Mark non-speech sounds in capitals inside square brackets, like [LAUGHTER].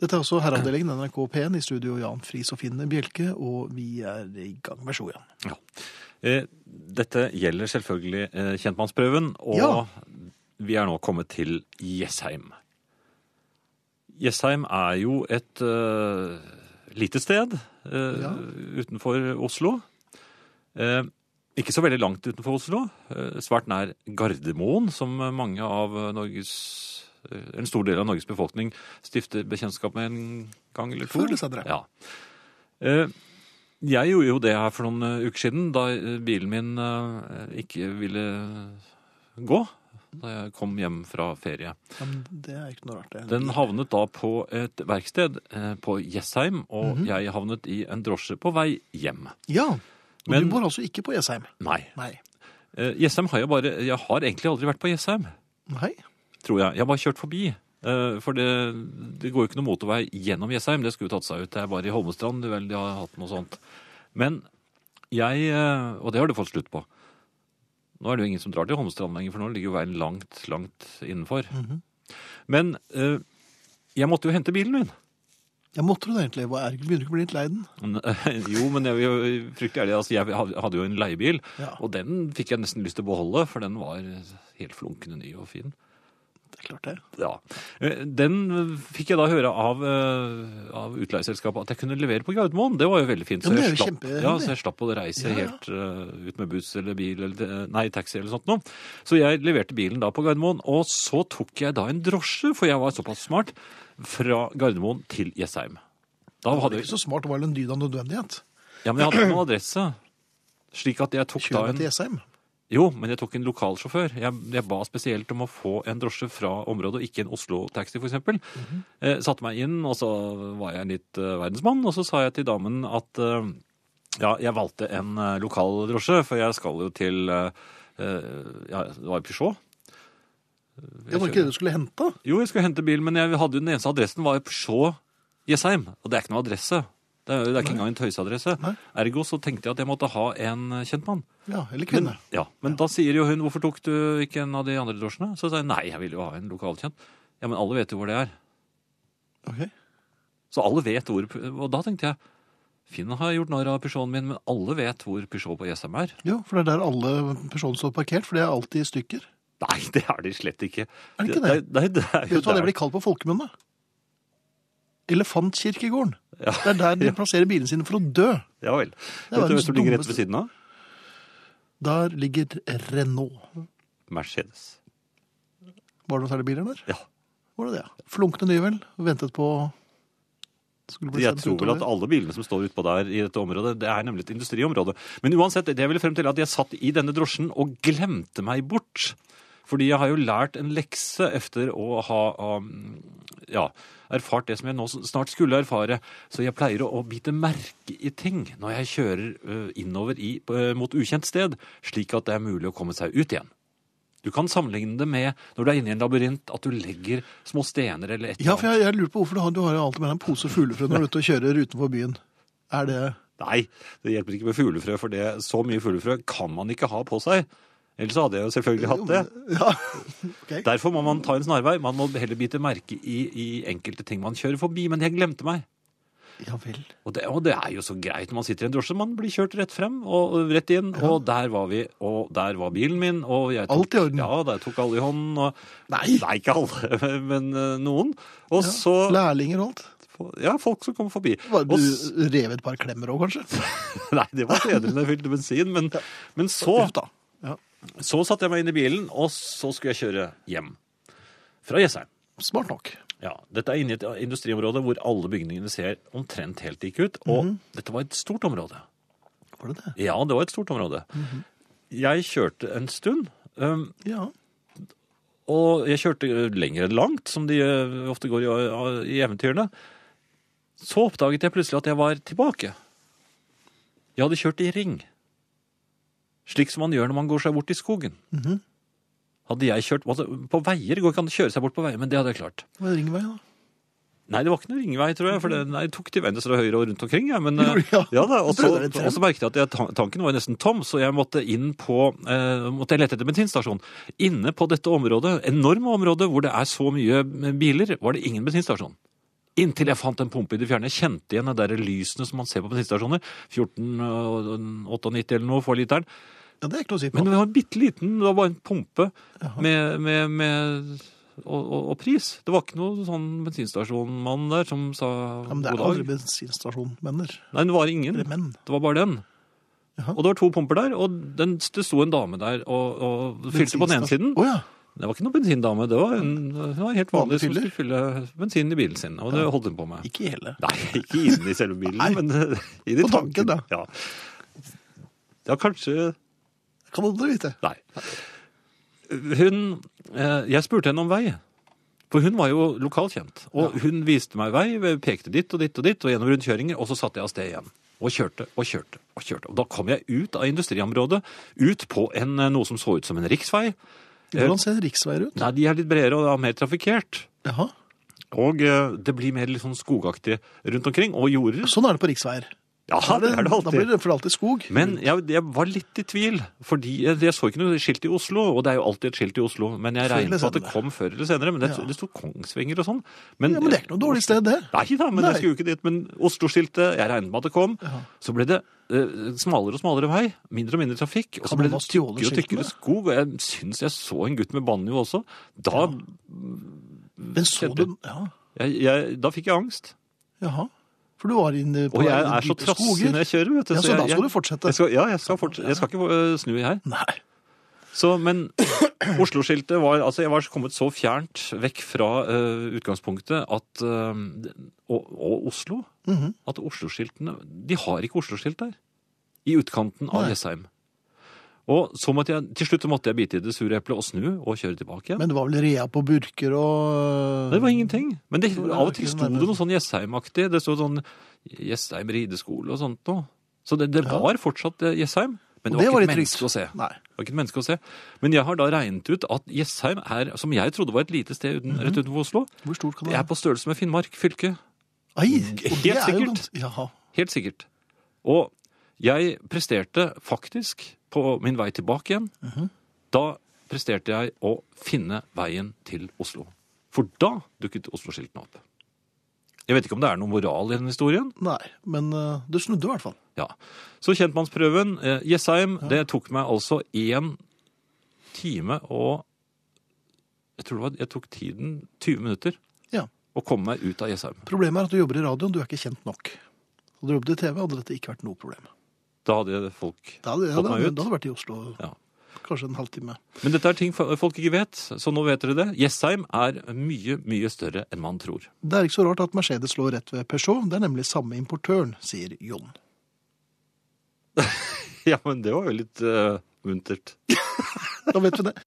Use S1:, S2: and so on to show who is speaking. S1: Dette er også Herreavdelingen NRK P1 i studio Jan Friis og Finn Bjelke, og vi er i gang. Vær så god, Jan.
S2: Ja. Eh, Dette gjelder selvfølgelig eh, kjentmannsprøven, og
S1: Ja.
S2: vi er nå kommet til Jessheim. Jessheim er jo et eh, lite sted eh,
S1: Ja.
S2: utenfor Oslo. Eh, ikke så veldig langt utenfor Oslo. eh, svært nær Gardermoen, som mange av Norges eh, en stor del av Norges befolkning stifter bekjentskap med en gang eller to.
S1: Før eller senere.
S2: Ja. Eh, Jeg gjorde jo det her for noen eh, uker siden, da eh, bilen min eh, ikke ville gå. Da jeg kom hjem fra ferie.
S1: Ja, men det er ikke noe rart, det.
S2: Den havnet da på et verksted eh, på Jessheim, og jeg havnet i en drosje på vei hjem.
S1: Ja, og
S2: Men-
S1: du bor altså ikke på Jessheim.
S2: Nei.
S1: Nei.
S2: Eh, Jessheim har jeg bare Jeg har egentlig aldri vært på Jessheim,
S1: Nei?
S2: tror jeg. Jeg har bare kjørt forbi. eh, For det, det går jo ikke noe motorvei gjennom Jessheim. Det skulle jo tatt seg ut. Det er bare i Holmestrand vel, de har hatt noe sånt. Men jeg eh, Og det har det fått slutt på. Nå er det jo ingen som drar til Holmestrand lenger, for nå ligger jo veien langt, langt innenfor. Men eh, jeg måtte jo hente bilen min. [LAUGHS]
S1: Jeg måtte du det egentlig? Hva er Begynner du ikke å bli litt lei den?
S2: Men- Jo, men jeg vil jo frykte ærlig. Altså, jeg hadde jo en leiebil,
S1: Ja.
S2: og den fikk jeg nesten lyst til å beholde, for den var helt flunkende ny og fin.
S1: Det er klart det.
S2: Ja. Eh, Den fikk jeg da høre av, eh, av utleieselskapet at jeg kunne levere på Gardermoen. Det var jo veldig fint.
S1: Ja,
S2: Så
S1: men det
S2: jeg,
S1: er jo
S2: slapp,
S1: kjempehyggelig.
S2: ja, så jeg slapp å reise
S1: Ja, ja.
S2: helt eh, ut med buss eller bil eller eh, nei, taxi eller sånt noe. Så jeg leverte bilen da på Gardermoen, og så tok jeg da en drosje, for jeg var såpass smart, fra Gardermoen til Jessheim.
S1: Det
S2: Da
S1: var
S2: hadde
S1: ikke så smart, det var vel en dyd av nødvendighet.
S2: Ja, men jeg hadde ikke noen adresse. Slik at jeg tok da
S1: Kjører meg
S2: en
S1: til Jessheim.
S2: Jo, men jeg tok en lokal sjåfør. Jeg, jeg ba spesielt om å få en drosje fra området, og ikke en Oslo-taxi, f.eks. eksempel.
S1: Mhm.
S2: eh, satte meg inn, og så var jeg litt eh, verdensmann, og så sa jeg til damen at eh, ja, jeg valgte en eh, lokal drosje, for jeg skal jo til eh, eh, Ja, det var Peugeot.
S1: Det var ikke det du skulle hente.
S2: Jo, jeg skulle hente bil, men jeg hadde jo den eneste adressen var jo Peugeot Jessheim. Og det er ikke noe adresse. Det er, det er ikke engang en tøyseadresse.
S1: Nei.
S2: Ergo så tenkte jeg at jeg måtte ha en eh, kjentmann.
S1: Ja, eller kvinne.
S2: Ja, men da sier jo hun 'hvorfor tok du ikke en av de andre drosjene?' Så sa jeg 'nei, jeg ville jo ha en lokalkjent'. Ja, men alle vet jo hvor det er.
S1: Ok.
S2: Så alle vet hvor Og da tenkte jeg Finn har gjort narr av Peugeoten min, men alle vet hvor Peugeot på Jessheim er. [LAUGHS]
S1: Jo, for det er der alle personer står parkert, for det er alltid i stykker.
S2: Nei, det er de slett ikke.
S1: Er det ikke
S2: Nei, det er
S1: Vet
S2: jo
S1: du hva det
S2: der.
S1: blir kalt på folkemunne? Elefantkirkegården.
S2: [LAUGHS] Ja.
S1: Det er der de plasserer bilene sine for å dø.
S2: Ja vel.
S1: var
S2: Vet du hvem
S1: den
S2: som ligger rett
S1: dummeste-
S2: ved siden av?
S1: Der ligger Renault.
S2: Mercedes.
S1: Var det noen særlige biler der?
S2: Ja.
S1: Var det det? ja? Flunkende nye vel, og ventet på... Skulle bli
S2: Jeg
S1: sendt
S2: tror vel
S1: utover.
S2: at alle bilene som står utpå der i dette området, det er nemlig et industriområde. Men uansett, det jeg ville frem til er at jeg satt i denne drosjen og glemte meg bort. Fordi jeg har jo lært en lekse efter å ha um, ja, erfart det som jeg nå snart skulle erfare. Så jeg pleier å, å bite merke i ting når jeg kjører øh, innover i, øh, mot ukjent sted, slik at det er mulig å komme seg ut igjen. Du kan sammenligne det med når du er inne i en labyrint, at du legger små stener eller et
S1: Ja, for jeg, jeg lurer på hvorfor du har, du har jo alltid med deg en pose fuglefrø når du er ute og kjører utenfor byen. Er det
S2: Nei, det hjelper ikke med fuglefrø, for det, så mye fuglefrø kan man ikke ha på seg. Ellers hadde jeg jo selvfølgelig hatt det.
S1: Ja, ok.
S2: Derfor må man ta en snarvei. Man må heller bite merke i, i enkelte ting man kjører forbi. Men jeg glemte meg.
S1: Ja vel.
S2: Og det, og det er jo så greit når man sitter i en drosje. Man blir kjørt rett frem og og rett inn. Og der var vi, og der var bilen min. Og jeg tok,
S1: Alt i orden.
S2: Ja, der tok alle i hånden. Og,
S1: Nei.
S2: Nei, ikke alle, [LAUGHS] men eh, noen. Og så
S1: Lærlinger og alt.
S2: Ja, folk som kom forbi.
S1: Var Du
S2: Og s- [LAUGHS]
S1: rev et par klemmer òg, kanskje?
S2: Nei, det var fredelig når jeg fylte bensin, men, men så
S1: Uff da. Ja.
S2: Så satte jeg meg inn i bilen, og så skulle jeg kjøre hjem. Fra Jessheim.
S1: Smart nok.
S2: Ja, dette er inne i et industriområde hvor alle bygningene ser omtrent helt like ut. Og dette var et stort område.
S1: Var det det?
S2: Ja, det var et stort område. Jeg kjørte en stund. øhm,
S1: Ja.
S2: og jeg kjørte øh, lenger enn langt, som de øh, ofte går i, øh, i eventyrene. Så oppdaget jeg plutselig at jeg var tilbake. Jeg hadde kjørt i ring. Slik som man gjør når man går seg bort i skogen. Hadde jeg kjørt altså, På veier går ikke an å kjøre seg bort på veier, men det hadde jeg klart.
S1: Det var ringvei, da.
S2: Nei, det var ikke noen ringvei, tror jeg, for det, nei, jeg tok til venstre og høyre og rundt omkring.
S1: [LAUGHS]
S2: Jeg, men,
S1: Gjorde du, ja?
S2: eh, ja, da, og, så,
S1: Prøvde deg litt frem.
S2: og så merket jeg at jeg, tan- tanken var jo nesten tom, så jeg måtte inn på eh, måtte jeg lette etter bensinstasjon. eh, Inne på dette området, enorme området hvor det er så mye biler, var det ingen bensinstasjon. Inntil jeg fant en pumpe i det fjerne. Jeg kjente igjen de der lysene som man ser på bensinstasjoner. eh, 14,98 eller noe for literen.
S1: Ja, det er ikke noe å si på.
S2: Men det var en bitte liten, det var bare en pumpe med, med, med og, og, og pris. Det var ikke noe sånn bensinstasjonmann der som sa
S1: ja, men det er
S2: god
S1: aldri
S2: dag.
S1: bensinstasjonmenner.
S2: Nei, det var ingen.
S1: Eller menn.
S2: Det var bare den.
S1: Jaha.
S2: Og det var to pumper der, og den, det sto en dame der og, og fylte på den ene siden.
S1: Bensinstasjon- Å ja.
S2: Det var ikke noen bensindame, det var en, det var en helt vanlig
S1: Vanlig
S2: som
S1: fyller.
S2: skulle fylle bensin i bilen sin. Og det holdt hun på med.
S1: Ikke hele.
S2: Nei, ikke inne i selve bilen,
S1: Nei.
S2: men [LAUGHS] eh, i de
S1: På tanken, da.
S2: Ja. ja, kanskje
S1: Kan aldri vite.
S2: Nei. Hun eh, Jeg spurte henne om vei. For hun var jo lokalt kjent. Og hun viste meg vei, pekte dit og dit og dit, og gjennom rundkjøringer, og så satte jeg av sted igjen. Og kjørte og kjørte og kjørte. Og da kom jeg ut av industriområdet, ut på en, eh, noe som så ut som en riksvei.
S1: Hvordan ser riksveier ut?
S2: Nei, de er litt bredere og da mer trafikkert.
S1: Jaha.
S2: Og eh, det blir mer litt sånn skogaktig rundt omkring, og jorder.
S1: Sånn er det på riksveier.
S2: Ja, det er det
S1: Da blir
S2: alltid.
S1: det for alltid skog.
S2: Men jeg, jeg var litt i tvil, fordi jeg, jeg så ikke noe skilt i Oslo, og det er jo alltid et skilt i Oslo, men
S1: Før
S2: jeg
S1: eller
S2: regnet med at det
S1: senere.
S2: kom før eller senere, men det,
S1: Ja.
S2: det sto Kongsvinger og sånn.
S1: Ja, men det er ikke noe dårlig sted, det.
S2: Nei da, men
S1: Nei.
S2: jeg skulle jo ikke dit, men Oslo-skiltet, jeg regnet med at det kom, så ble det eh, smalere og smalere vei, mindre og mindre trafikk, og
S1: Kan
S2: så ble
S1: man ha
S2: det tykkere og
S1: stjålet skiltene?
S2: tykkere skog, og jeg synes jeg så en gutt med banjo også. Da,
S1: Men så
S2: Kjente.
S1: du Ja,
S2: jeg, jeg, da fikk jeg angst.
S1: jaha. For du var inne på
S2: Og jeg
S1: de
S2: er så
S1: dype
S2: trassig
S1: skoger.
S2: når jeg kjører, vet du.
S1: Ja, så da
S2: jeg-
S1: skal du fortsette.
S2: Jeg skal, ja, jeg skal, fortsette. jeg skal ikke øh, snu, jeg.
S1: Nei.
S2: Så, men Oslo-skiltet var Altså, jeg var kommet så fjernt vekk fra øh, utgangspunktet at øh, og, og Oslo.
S1: Mhm.
S2: At Oslo-skiltene De har ikke Oslo-skilt der. I utkanten av
S1: Nei.
S2: Jessheim. Og så måtte jeg, til slutt måtte jeg bite i det sure eplet og snu og kjøre tilbake igjen.
S1: Men det var vel rea på burker og
S2: Nei, Det var ingenting. Men det,
S1: Det var
S2: av og til sto det
S1: nærmest-
S2: noe sånn Jessheim-aktig. Det sto sånn Jessheim rideskole og sånt noe. Så det, det var fortsatt eh, Jessheim. Men
S1: Og det var
S2: det var ikke
S1: litt
S2: et menneske
S1: trygt.
S2: å se.
S1: Nei.
S2: Det var ikke et menneske å se. Men jeg har da regnet ut at Jessheim er, som jeg trodde var et lite sted uten, rett utenfor Oslo,
S1: Hvor stort kan
S2: det
S1: det
S2: er
S1: være?
S2: på størrelse med Finnmark fylke.
S1: Ai,
S2: Helt
S1: og det er jo
S2: sikkert.
S1: gans- Jaha.
S2: Helt sikkert. Og jeg presterte faktisk, på min vei tilbake igjen, da presterte jeg å finne veien til Oslo. For da dukket Oslo-skiltene opp. Jeg vet ikke om det er noe moral i den historien.
S1: Nei, men eh, du snudde i hvert fall.
S2: Ja. Så kjentmannsprøven, eh, Jessheim, det tok meg altså én time og jeg tror det var, jeg tok tiden 20 minutter
S1: Ja.
S2: å komme meg ut av Jessheim.
S1: Problemet er at du jobber i radioen, du er ikke kjent nok. Hadde du jobbet i TV, hadde dette ikke vært noe problem.
S2: Da hadde folk
S1: Da hadde,
S2: Fått
S1: da,
S2: meg ut?
S1: hadde vært i Oslo
S2: Ja.
S1: kanskje en halvtime.
S2: Men dette er ting fo- folk ikke vet, så nå vet dere det. Jessheim er mye, mye større enn man tror.
S1: Det er ikke så rart at Mercedes lå rett ved Peugeot. Det er nemlig samme importøren, sier Jon.
S2: Ja, men det var jo litt eh, muntert.
S1: Da vet vi det.